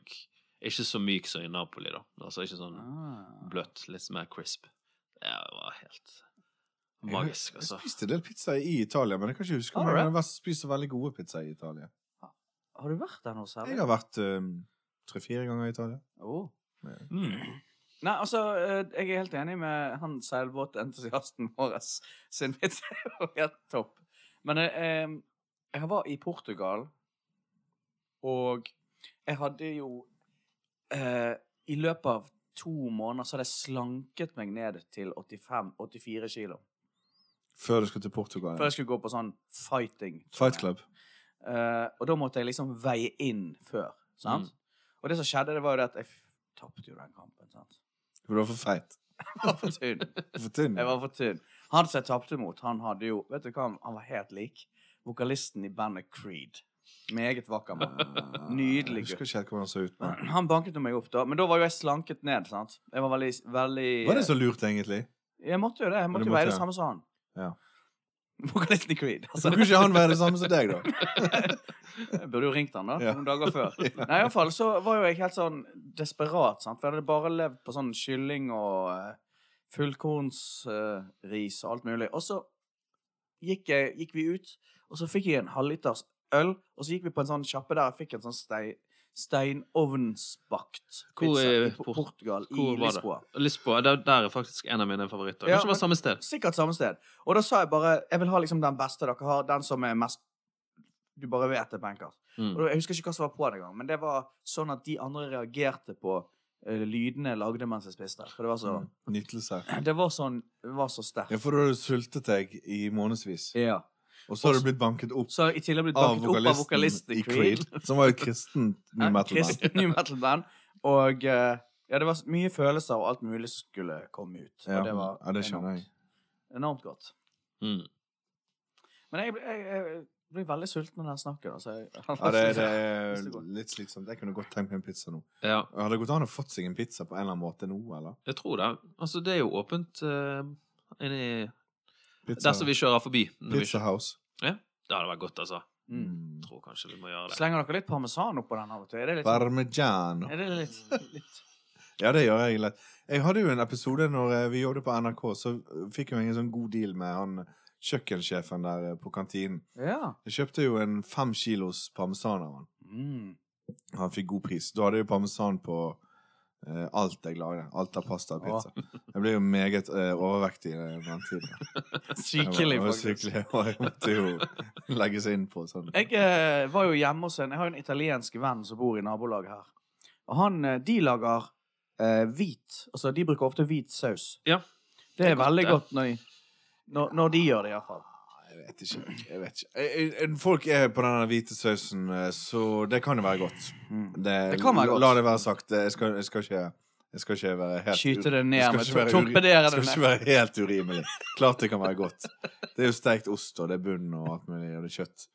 C: ikke så myk som i Napoli, da. Altså ikke sånn
A: Ah.
C: bløtt, litt mer crisp. Det var helt
D: Jeg-
C: magisk,
D: Jeg
C: altså.
D: spiste en del pizza i Italia, men jeg kan ikke huske om jeg
A: Alright.
D: har spist så veldig gode pizza i Italia.
A: Har du vært der nå, særlig?
D: Jeg har vært eh, tre-fire ganger i Italia.
A: Åh.
C: Mm.
A: Nei, altså, eh, jeg er helt enig med han seilbåtentusiasten vår sin vits. Det var helt topp. Men eh, eh, jeg var i Portugal, og jeg hadde jo eh, I løpet av to måneder så hadde jeg slanket meg ned til 85-84 kilo.
D: Før du skulle til Portugal.
A: Før
D: Ja.
A: jeg skulle gå på sånn fighting.
D: Fight Club.
A: Eh, og da måtte jeg liksom veie inn før. Sant?
D: Mm.
A: Og det som skjedde, det var jo det at jeg f- tapte jo den kampen. sant?
D: [laughs] Du var for feit.
A: Jeg var for tynn.
D: For tynn.
A: Jeg var for tynn. Han som jeg tapte mot, han hadde jo Vet du hva, han- han var helt lik vokalisten i bandet Creed. Meget vakker
D: [laughs]
A: mann. Nydelig
D: Ah, Jeg
A: gutt.
D: husker ikke helt hvordan han så ut. Men.
A: Han banket jo meg opp, da. Men da var jo jeg slanket ned. sant? Jeg var veldig, veldig
D: Var det så lurt, egentlig?
A: Jeg måtte jo det. Jeg
D: du
A: måtte jo
D: måtte
A: veie det
D: det.
A: samme som han.
D: Ja.
A: Vokalisten i Creed. Altså.
D: Så kunne ikke han være det samme som deg, da?
A: Jeg burde jo ringt han da,
D: Ja.
A: noen dager før. Nei, i hvert fall så var jo jeg helt sånn desperat, sant? for jeg hadde bare levd på sånn kylling og eh, fullkornsris og alt mulig. Og så gikk, jeg, gikk vi ut, og så fikk jeg en halvliters øl, og så gikk vi på en sånn kjappe der jeg fikk en sånn stein, steinovnsbakt
C: Hvor
A: pizza
C: i
A: i Po-
C: Port-
A: Portugal,
C: hvor
A: i
C: var det?
A: Lisboa.
C: Lisboa, der, der er faktisk en av mine favoritter.
A: Ja,
C: Kanskje det var samme sted.
A: Sikkert samme sted. Og da sa jeg bare jeg vil ha liksom den beste dere har, den som er mest Du bare vet det, bankers. Og
C: Mm.
A: da- Jeg husker ikke hva som var på den gang, men det var sånn at de andre reagerte på eh, lydene jeg lagde mens jeg spiste. For det var [laughs] så,
D: Nytelse.
A: [clears throat] det var sånn, det var så
D: Mm. Ja,
A: sterkt.
D: for da har du sultet deg i månedsvis,
A: Ja.
D: og så har du blitt banket opp
A: Så i tillegg blitt
D: av
A: banket opp av
D: vokalisten i Creed. Som var jo et kristent
A: Ja,
D: new
A: [laughs]
D: metal-band.
A: Kristen new metal band. Og eh, ja, det var s- mye følelser, og alt mulig skulle komme ut.
D: Ja,
A: og det var
D: ja, det skjønner jeg.
A: enormt, enormt godt.
C: Mm.
A: Men jeg, ble- jeg, jeg blir veldig sulten når jeg snakker. Altså, jeg,
D: Ja,
A: [laughs]
D: det, det
A: Hvis
D: er
A: det går.
D: litt slitsomt. Jeg kunne godt tenkt meg en pizza nå.
C: Ja,
D: Hadde det gått an å fått seg en pizza på en eller annen måte nå, eller?
C: jeg tror det. Altså, det er jo åpent uh, inni
D: Pizza,
C: Der som vi kjører forbi. Når vi
D: pizza
C: kjører.
D: House.
C: Det hadde vært godt, altså.
A: Mm.
D: Mm.
C: Jeg tror kanskje vi må gjøre det.
A: Slenger dere litt parmesan oppå den av og til? Er det litt, sånn-
D: Parmigiano.
A: er det litt, litt
D: Ja, det gjør jeg lett. Jeg hadde jo en episode når eh, vi jobbet på NRK, så fikk jo jeg en sånn god deal med han kjøkkensjefen der eh, på kantinen.
A: Ja.
D: Jeg kjøpte jo en fem kilos parmesan av han.
A: Mm.
D: Han fikk god pris. Da hadde jeg jo parmesan på eh, alt jeg lagde. Alt av pasta og pizza.
A: [laughs]
D: Jeg ble jo meget eh, overvektig i den tiden.
A: Sykelig,
D: Jeg var- jeg var
A: faktisk.
D: Sykelig, og jeg måtte jo legge seg inn på sånn.
A: Jeg eh, var jo hjemme hos en Jeg har jo en italiensk venn som bor i nabolaget her. Og han, eh, de lager eh, hvit Altså, de bruker ofte hvit saus.
C: Ja.
A: Det er
C: godt,
A: veldig
C: det.
A: godt når de, når, når de gjør det, iallfall.
D: Jeg vet ikke. Jeg vet ikke. Jeg- jeg- Folk er på den hvite sausen, eh, så det kan jo være godt.
A: Mm.
D: Det,
A: Det kan være godt.
D: La det være sagt. Jeg skal, jeg skal, ikke, jeg skal ikke være helt
A: Skyte det
D: Jeg
A: ned
D: skal
A: med
D: ikke være
A: to-
D: uri-
A: torpedere
D: skal
A: det
D: ikke
A: ned.
D: være helt urimelig. Klart det kan være godt. Det er jo steikt ost, og det er bunn, og alt mulig, og det er kjøtt.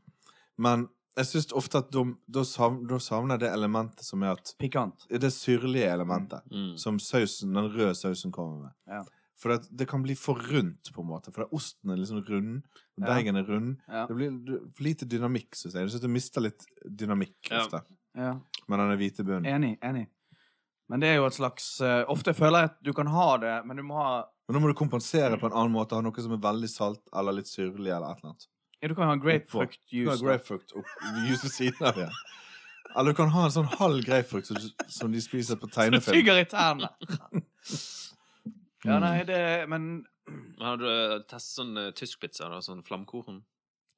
D: Men jeg syns ofte at de- da savn- da savner jeg det elementet som er at
A: Pikant.
D: Det syrlige elementet
C: Mm.
D: som sausen, den røde sausen kommer med.
A: Ja.
D: For det, det kan bli for rundt, på en måte. For det, osten er liksom rund, og
A: Ja.
D: deigen er rund.
A: Ja.
D: Det blir du- for lite dynamikk, syns jeg. Jeg synes du mister litt dynamikk
C: Ja.
D: ofte
A: ja.
D: med den hvite bunnen.
A: Enig. Enig. Men det er jo et slags eh, Ofte føler jeg at du kan ha det, men du må ha
D: Men nå må du
A: Mm.
D: kompensere på en annen måte. Ha noe som er veldig salt eller litt syrlig eller et eller annet.
A: ja, Du kan ha
D: Du
A: grapefruktjuice.
D: har grapefruit opp juice ved siden av. Ja. Eller du kan ha en sånn halv grapefruit som, som de
A: [laughs]
D: spiser på
A: Du
D: tegnefilm.
A: tygger i tærne. Ja, nei, det Men
C: Men har du eh, testet sånn eh, tysk pizza, da? Sånn flamkorn?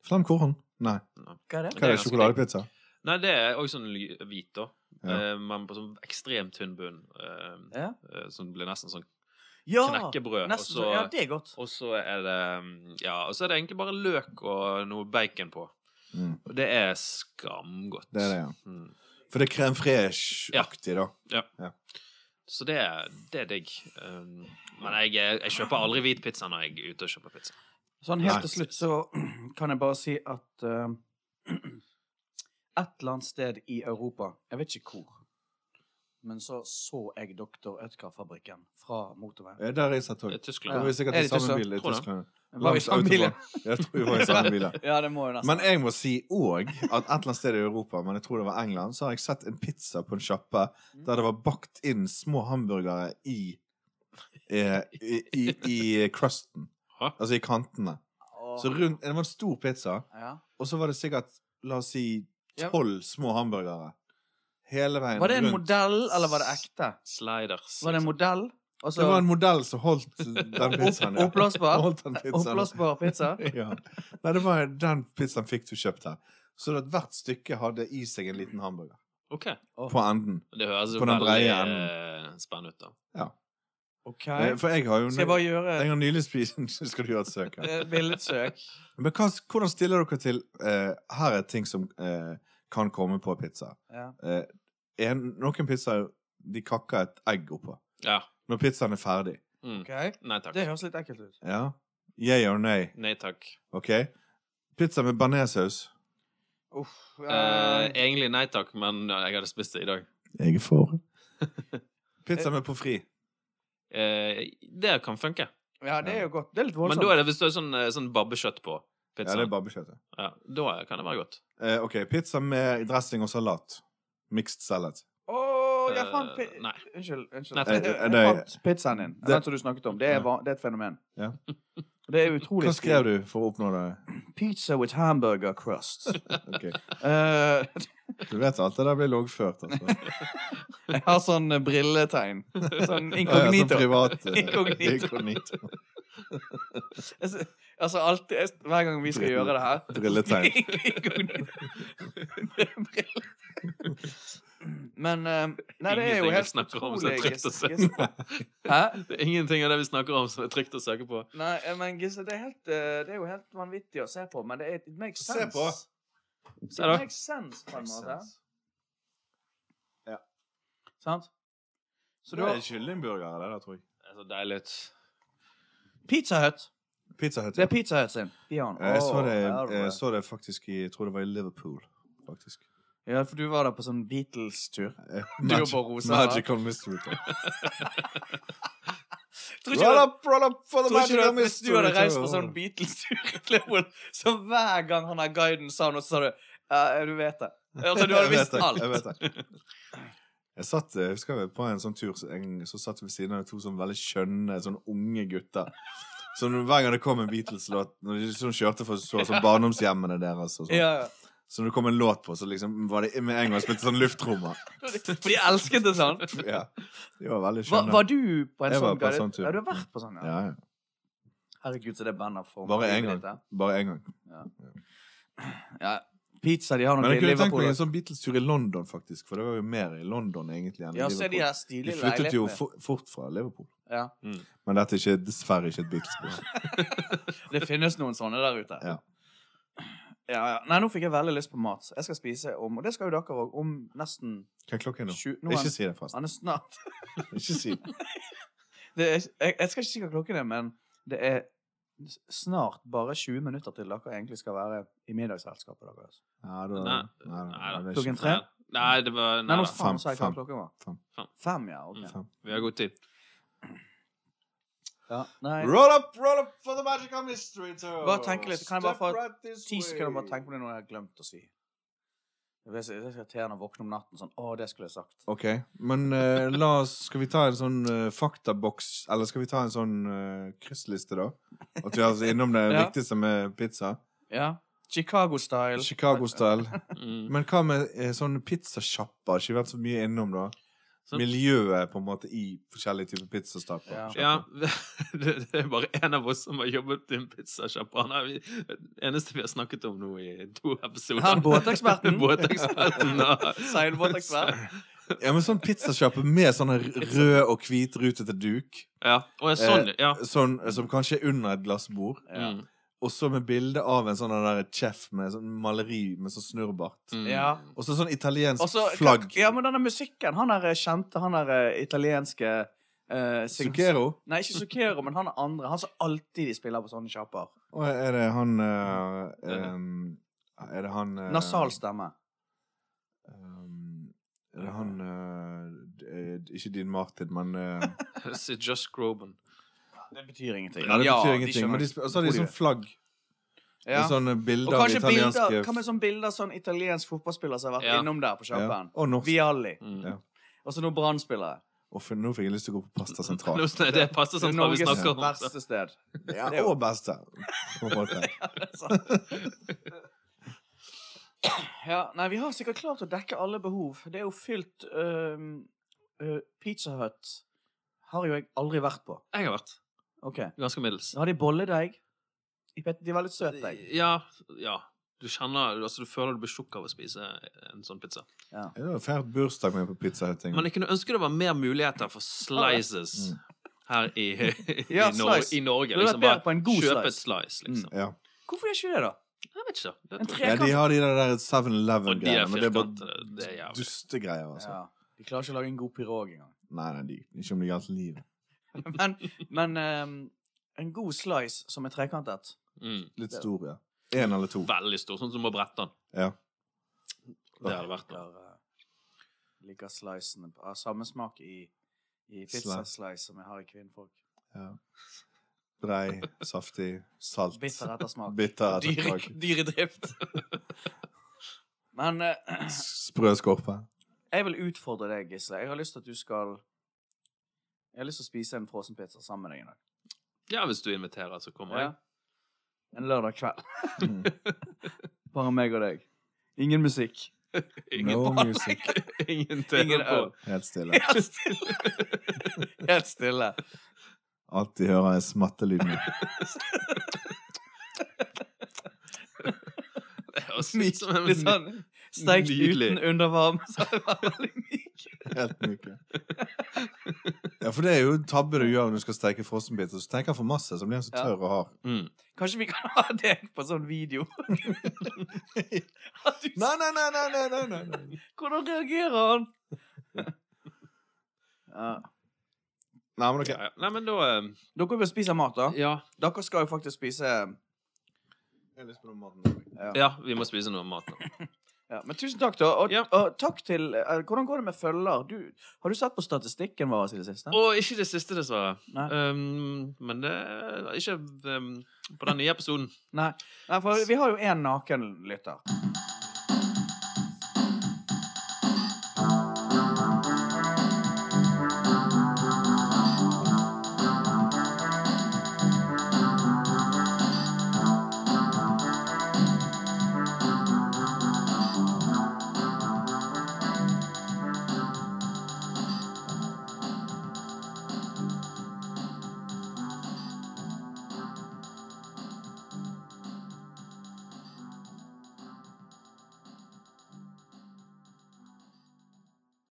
D: Flamkorn? Nei.
A: hva er det?
D: Hva er det?
C: ganske
D: Sjokoladepizza?
C: Nei, det er også sånn ly- hvit, da.
D: Ja.
C: Eh, Men på sånn ekstremt tynn bunn. eh,
A: Ja.
C: eh, Som blir nesten sånn
A: Ja,
C: knekkebrød.
A: nesten, så-
C: og så,
A: ja, det er godt.
C: og så er det mm, Ja, og så er det egentlig bare løk og noe bacon på.
D: Mm,
C: Og det er skamgodt.
D: det er det, ja.
C: Mm.
D: For det er crème fresh-aktig, da.
C: Så det, er- det er digg. Um, men jeg, jeg kjøper aldri hvit pizza når jeg er ute og kjøper pizza.
A: Sånn helt
D: Nei.
A: til slutt så [clears throat] kan jeg bare si at eh, [clears throat] Et eller annet sted i Europa, jeg vet ikke hvor, men så så jeg Dr. Ødker-fabrikken fra motorveien.
D: Ja, Der er jeg satt
C: Det
D: òg.
C: er Tyskland.
D: Det var sikkert
A: Er
D: i
A: det
D: samme
A: Tyskland?
D: bil i
C: Tror det.
D: Tyskland.
A: Var vi
D: Langs
A: sammen bilen?
D: autobahn. Jeg tror vi var
A: [laughs]
D: i samme bil. ja.
A: Ja, det må jo nesten
D: Men jeg må si òg at et eller annet sted i Europa, men jeg tror det var England, så har jeg sett en pizza på en sjappe der det var bakt inn små hamburgere i eh, i, i, i crusten.
C: Hæ?
D: Altså i kantene.
A: Åh,
D: Så rundt, Det var en stor pizza,
A: ja.
D: og så var det sikkert, la oss si,
A: Ja.
D: tolv små hamburgere. Hele veien
A: Var det en
D: rundt.
A: modell, eller var det ekte?
C: Sliders.
A: Var det en
C: liksom.
A: modell?
D: Det
A: Altså
D: var en modell som
A: [laughs]
D: holdt den pizzaen. ja.
A: oppblåsbar?
D: Holdt den pizzaen.
A: oppblåsbar
D: [laughs]
A: pizza?
D: ja. Nei, det var den pizzaen fikk du kjøpt her. Så det at hvert stykke hadde i seg en liten hamburger.
C: Ok.
D: På enden.
C: Det høres jo
D: På den
C: veldig
D: breie
C: eh, spennende ut, da.
A: OK.
D: Eh, For jeg har jo
A: Skal jeg bare gjøre
D: jeg har nylig spist [laughs] Skal du gjøre et søk her?
A: et
D: [laughs]
A: billedsøk?
D: Men hva, hvordan stiller dere til eh, Her er ting som eh, kan komme på pizza.
A: Ja.
D: Eh, en, noen pizzaer de kakker et egg oppå.
C: Ja.
D: Når pizzaen er ferdig.
C: Mm.
A: OK?
C: Nei takk.
A: Det høres litt ekkelt ut.
D: Ja? Yeah or nay?
C: Nei takk.
D: OK? Pizza med bearnéssaus.
A: Uff.
C: Eh,
A: eh,
C: egentlig nei takk, men jeg hadde spist det i dag.
D: Jeg er for. [laughs] Pizza med pommes frites.
C: Eh, det kan funke.
A: ja, det er jo godt. Det er litt
C: Men
A: voldsomt.
C: da er det hvis det er sånn, eh, sånn babbekjøtt på
D: Ja,
C: pizzaen. Ja,
D: det er babbekjøttet.
C: da kan det være godt.
D: Eh, OK. Pizza med dressing og salat. Mixed salad.
A: Å, jeg fant pi...
C: Eh, nei. [laughs]
A: Unnskyld. unnskyld.
C: Nei, takk.
A: Jeg-
D: Eh, det-
A: Jeg fant pizzaen din.
D: det-
A: Den som du snakket om. Det er, va- det er et fenomen.
D: Ja.
A: [laughs] Det er utrolig
D: Hva skrev du for å oppnå det?
A: Pizza with hamburger
D: [laughs]
A: crust.
D: Ok.
A: Eh,
D: Du vet alt det der blir loggført, altså.
A: jeg har sånn eh, brilletegn.
D: [laughs]
A: Sånn
D: Ja,
A: inkognito.
D: ja,
A: [laughs]
D: sånn privat, eh,
A: Inkognito.
D: inkognito.
A: Jeg s- Altså alltid jeg s- Hver gang vi skal
D: Brille-
A: gjøre det her [laughs]
D: brilletegn.
A: Inkognito. Men eh, Nei, det er
C: Ingenting
A: jo
C: vi
A: helt
C: snakker om som er
A: utrolig.
C: trygt å
A: Gis-
C: se
A: Gis-
C: på.
A: Hæ?
C: Det er ingenting av det vi snakker om som er trygt å søke på.
A: Nei, eh, men Gisle, det er, helt, eh, det er jo helt vanvittig å se på, men det er, it makes
D: Se
A: sense.
D: på.
C: Se da.
A: It makes sense, på en måte.
D: Ja.
A: Sant? Så du
D: Det er
A: har
D: kyllingburgere, det der, tror jeg.
C: Det er så deilig ut.
A: Pizza Hut.
D: Pizza Hut.
A: Det
D: ja.
A: er Pizza Hut sin. De har den.
D: Eh, Jeg så
A: Åh,
D: det,
A: ja,
D: jeg så det faktisk i Jeg tror det var i Liverpool, faktisk.
A: Ja, for du var der på sånn Beatles-tur.
D: [laughs] Eh,
A: Du var
D: Magic-
A: på rosa.
D: Magical Mystery Tour.
A: Tror ikke du-
D: up, roll up for the
A: tror ikke du
D: magical
A: at hvis du hadde
D: mystery
A: reist
D: tour.
A: på sånn Beatles-tur [laughs] i Liverpool, så hver gang han der guiden sa noe, så sa du Ja, du vet det. Altså, du hadde
D: Jeg vet
A: visst
D: det,
A: alt.
D: Jeg vet det. Jeg satt, eh, husker jeg på en sånn tur så, en, så satt jeg ved siden av to sånn veldig skjønne, sånn unge gutter. Så når- hver gang det kom en Beatles-låt Når de sånn kjørte for så, sånn barndomshjemmene deres og sånn.
A: Ja, ja.
D: Så når det kom en låt på, så liksom var det med en gang spilte sånn luftrommer.
A: [laughs] For de elsket det sånn.
D: Ja. De var
A: Var,
D: veldig skjønne.
A: var du på en
D: Jeg var
A: sånn
D: på en
A: guided-
D: sånn tur.
A: Ja, du har vært på sånn, ja.
D: Ja, ja.
A: Herregud, så det bandet for
D: Bare en gang. Bare én gang.
A: Ja. Pizza, de har
D: Men
A: noe i
D: jeg kunne tenkt
A: Liverpool.
D: meg en sånn Beatles-tur i London, faktisk. For det var jo mer i London egentlig enn i
A: Ja, se de
D: sånn Liverpool.
A: der stilige
D: De flyttet jo
A: leilighetene.
D: fo- fort fra Liverpool.
A: Ja.
D: Men dette er ikke, dessverre ikke et Beatles-spor.
A: Det finnes noen sånne der ute.
D: Ja.
A: Ja, ja. Nei, nå fikk jeg veldig lyst på mat. så Jeg skal spise om Og det skal jo dere òg. Om nesten
D: Hva er klokken nå?
A: sju Nå er
D: Ikke
A: han-
D: si det, forresten.
A: han er snart [laughs]
D: Ikke si
A: det er, jeg, jeg skal ikke si hva klokken er, men det er s- snart bare 20 minutter til dere egentlig skal være i middagsselskapet deres.
D: Ja, da,
C: Nei.
D: nei,
C: Nei da.
D: det er ikke-
A: Klokken tre?
C: Nei, det var
A: Nei,
C: Nei
A: nå
C: da.
A: faen
D: Fem,
A: sa jeg hva
D: fem.
A: klokken var.
D: Fem.
C: Fem.
A: Fem, ja. ok.
C: Mm. Vi har god tid.
A: Ja, nei.
D: Roll up, roll up for the magical mystery tour.
A: Bare tenke litt. Kan jeg bare få
D: Step right this
A: Ti sekunder
D: way.
A: bare tenke på det noe jeg har glemt å si. Det blir så det er så irriterende å våkne om natten sånn Å, det skulle jeg sagt.
D: Ok, men eh, la oss Skal vi ta en sånn eh, faktaboks Eller skal vi ta en sånn eh, kryssliste da? At vi er altså innom det
A: [laughs] Ja.
D: viktigste med pizza
A: Ja. Chicago-style. [laughs]
D: Chicago-style
C: Mm.
D: Men hva med eh, sånne pizzasjapper? Ikke vært så mye innom da
C: Sånn.
D: Miljøet på en måte i forskjellige typer pizzastapper
A: Ja.
C: [laughs] Ja, [laughs] det, det er bare én av oss som har jobbet i en pizzasjappe. Han er vi- det eneste vi har snakket om nå i to episoder.
A: Han båteksperten.
C: [laughs] Båteksperten,
A: [laughs]
C: da.
D: [laughs]
A: Seilbåtekspert.
D: ja, men sånn pizzasjapper med sånne rød og hvit rutete duk
C: Ja, og en sånn, ja.
D: Sånn eh, som kanskje er under et glassbord
A: Ja.
C: Mm,
D: Og så med bilde av en sånn der chef Med sånn maleri med sånn snurrbart
C: mm.
A: Ja.
D: Og så sånn italiensk
A: Og så-
D: flagg.
A: Ja, men denne musikken Han der eh, kjente, han der eh, italienske eh, sing-
D: Zucchero?
A: Nei, ikke Zucchero, men han er andre. Han som alltid de spiller på sånne kjapper.
D: Og er det han eh, eh, Er det han eh,
A: Nasal stemme.
D: eh, Er det han eh, d- eh, Ikke Dean Martin, men eh,
C: Så Josh Groban.
A: Det betyr ingenting.
D: Ja, det betyr
A: de
D: ingenting.
A: skjønner.
D: men de, sp- og så har de
A: Hvor
D: sånn flagg.
A: ja.
D: Med Sånne
A: Og
D: eh, bilder av
A: kanskje
D: italienske
A: bilder, hva med sånne bilder sånn italiensk fotballspiller som har vært
C: Ja.
A: innom der på
D: eh, ja.
A: kjappen?
D: Og norsk.
A: Vialli.
C: Mm.
D: Ja.
A: Og så noen Brann-spillere.
D: Og for, nå fikk jeg lyst til å gå på Pasta
C: [laughs]
D: Sentral.
C: Nå sn- Det passer sånn hva vi
A: Norges
C: snakker om. så.
A: verste sted. det
D: Ja,
A: er jo-
D: og beste. På en måte.
A: Ja, nei, vi har sikkert klart å dekke alle behov. Det er jo fylt øhm, øh, Pizza Hut har jo jeg aldri vært på.
C: Jeg har vært
A: Ok.
C: ganske middels.
A: Så har de bolledeig. De vet- de var litt søte, deig.
C: Ja, ja. Du kjenner, altså du føler du blir tjukk av å spise en sånn pizza.
D: Det var feiret bursdag med på Pizza Hut.
C: Men jeg kunne ønske det var mer muligheter for slices
D: Mm.
C: her
A: [laughs]
C: i, i,
A: Ja,
C: Nor
A: slice.
C: i
A: Det
C: Norge.
A: hadde vært
C: Liksom
A: bedre
C: bare
A: på en god
C: kjøpe et
A: slice. Mm.
C: slice, liksom.
D: Ja.
A: Hvorfor gjør ikke det, da?
C: Jeg vet ikke. Det
A: En
C: tror jeg.
D: ja, de har de der
C: Og de
D: 7-Eleven-greiene.
C: er
D: Men det er
C: firkantede. Det er
D: bare
C: jævlig.
D: dustegreier, altså.
A: Ja, de klarer ikke å lage en god pirog engang.
D: Nei, nei, de, ikke om det gjaldt livet.
A: [laughs] Men, men øhm, en god slice som er trekantet
C: Mm.
D: Litt stor, ja. Én eller to.
C: Veldig stor, sånn som å brette den.
D: Ja.
C: Det hadde vært noe.
A: Liker, eh, liker slicene på- Har samme smak i, i pizza
D: Slice.
A: slice som jeg har i kvinnfolk.
D: Brei, saftig, salt.
A: Bitter ettersmak.
D: Bitter ettersmak.
A: Dyr, dyr i drift. Men eh,
D: Sprø skorpe.
A: jeg vil utfordre deg, Gisle. Jeg har lyst til at du skal Jeg har lyst til å spise en frossenpizza sammen med deg i dag.
C: Ja, hvis du inviterer, så kommer jeg.
A: En lørdag kveld.
D: Mm.
A: [laughs] Bare meg og deg. Ingen musikk.
C: Ingen,
D: No music.
C: ingen
A: [laughs] Ingen
C: TV på.
A: øl.
D: Helt stille.
A: Helt stille. Helt stille.
D: Alltid hører jeg smattelyden.
C: Det høres ut
A: Myk.
C: som en
A: Litt sånn steikt
C: Nydelig.
A: uten undervarme. Så det var veldig myk.
D: Helt myke. Ja, for det er jo en tabbe du gjør når du skal steke frossenbiter. Så tenker jeg for masse, så blir den så
A: Ja.
D: tørr og hard.
C: Mm.
A: Kanskje vi kan ha deg på sånn video? At du,
D: Nei, nei, nei, nei, nei, nei, nei.
A: hvordan reagerer han? ja.
D: Nei, men ok.
C: Ja, ja. Nei, men da eh,
A: Dere vil spise mat, da?
C: ja,
A: Dere skal jo faktisk spise
D: Jeg har lyst på noe mat.
C: ja, vi må spise noe mat nå.
A: ja. Men tusen takk, da. Og,
C: Ja.
A: og takk til eh, Hvordan går det med følger? Du, har du sett på statistikken vår i det siste?
C: Og ikke det siste, dessverre.
A: Nei.
C: Um, men det er ikke um, på den nye episoden.
A: Nei, Nei, for vi har jo én nakenlytter.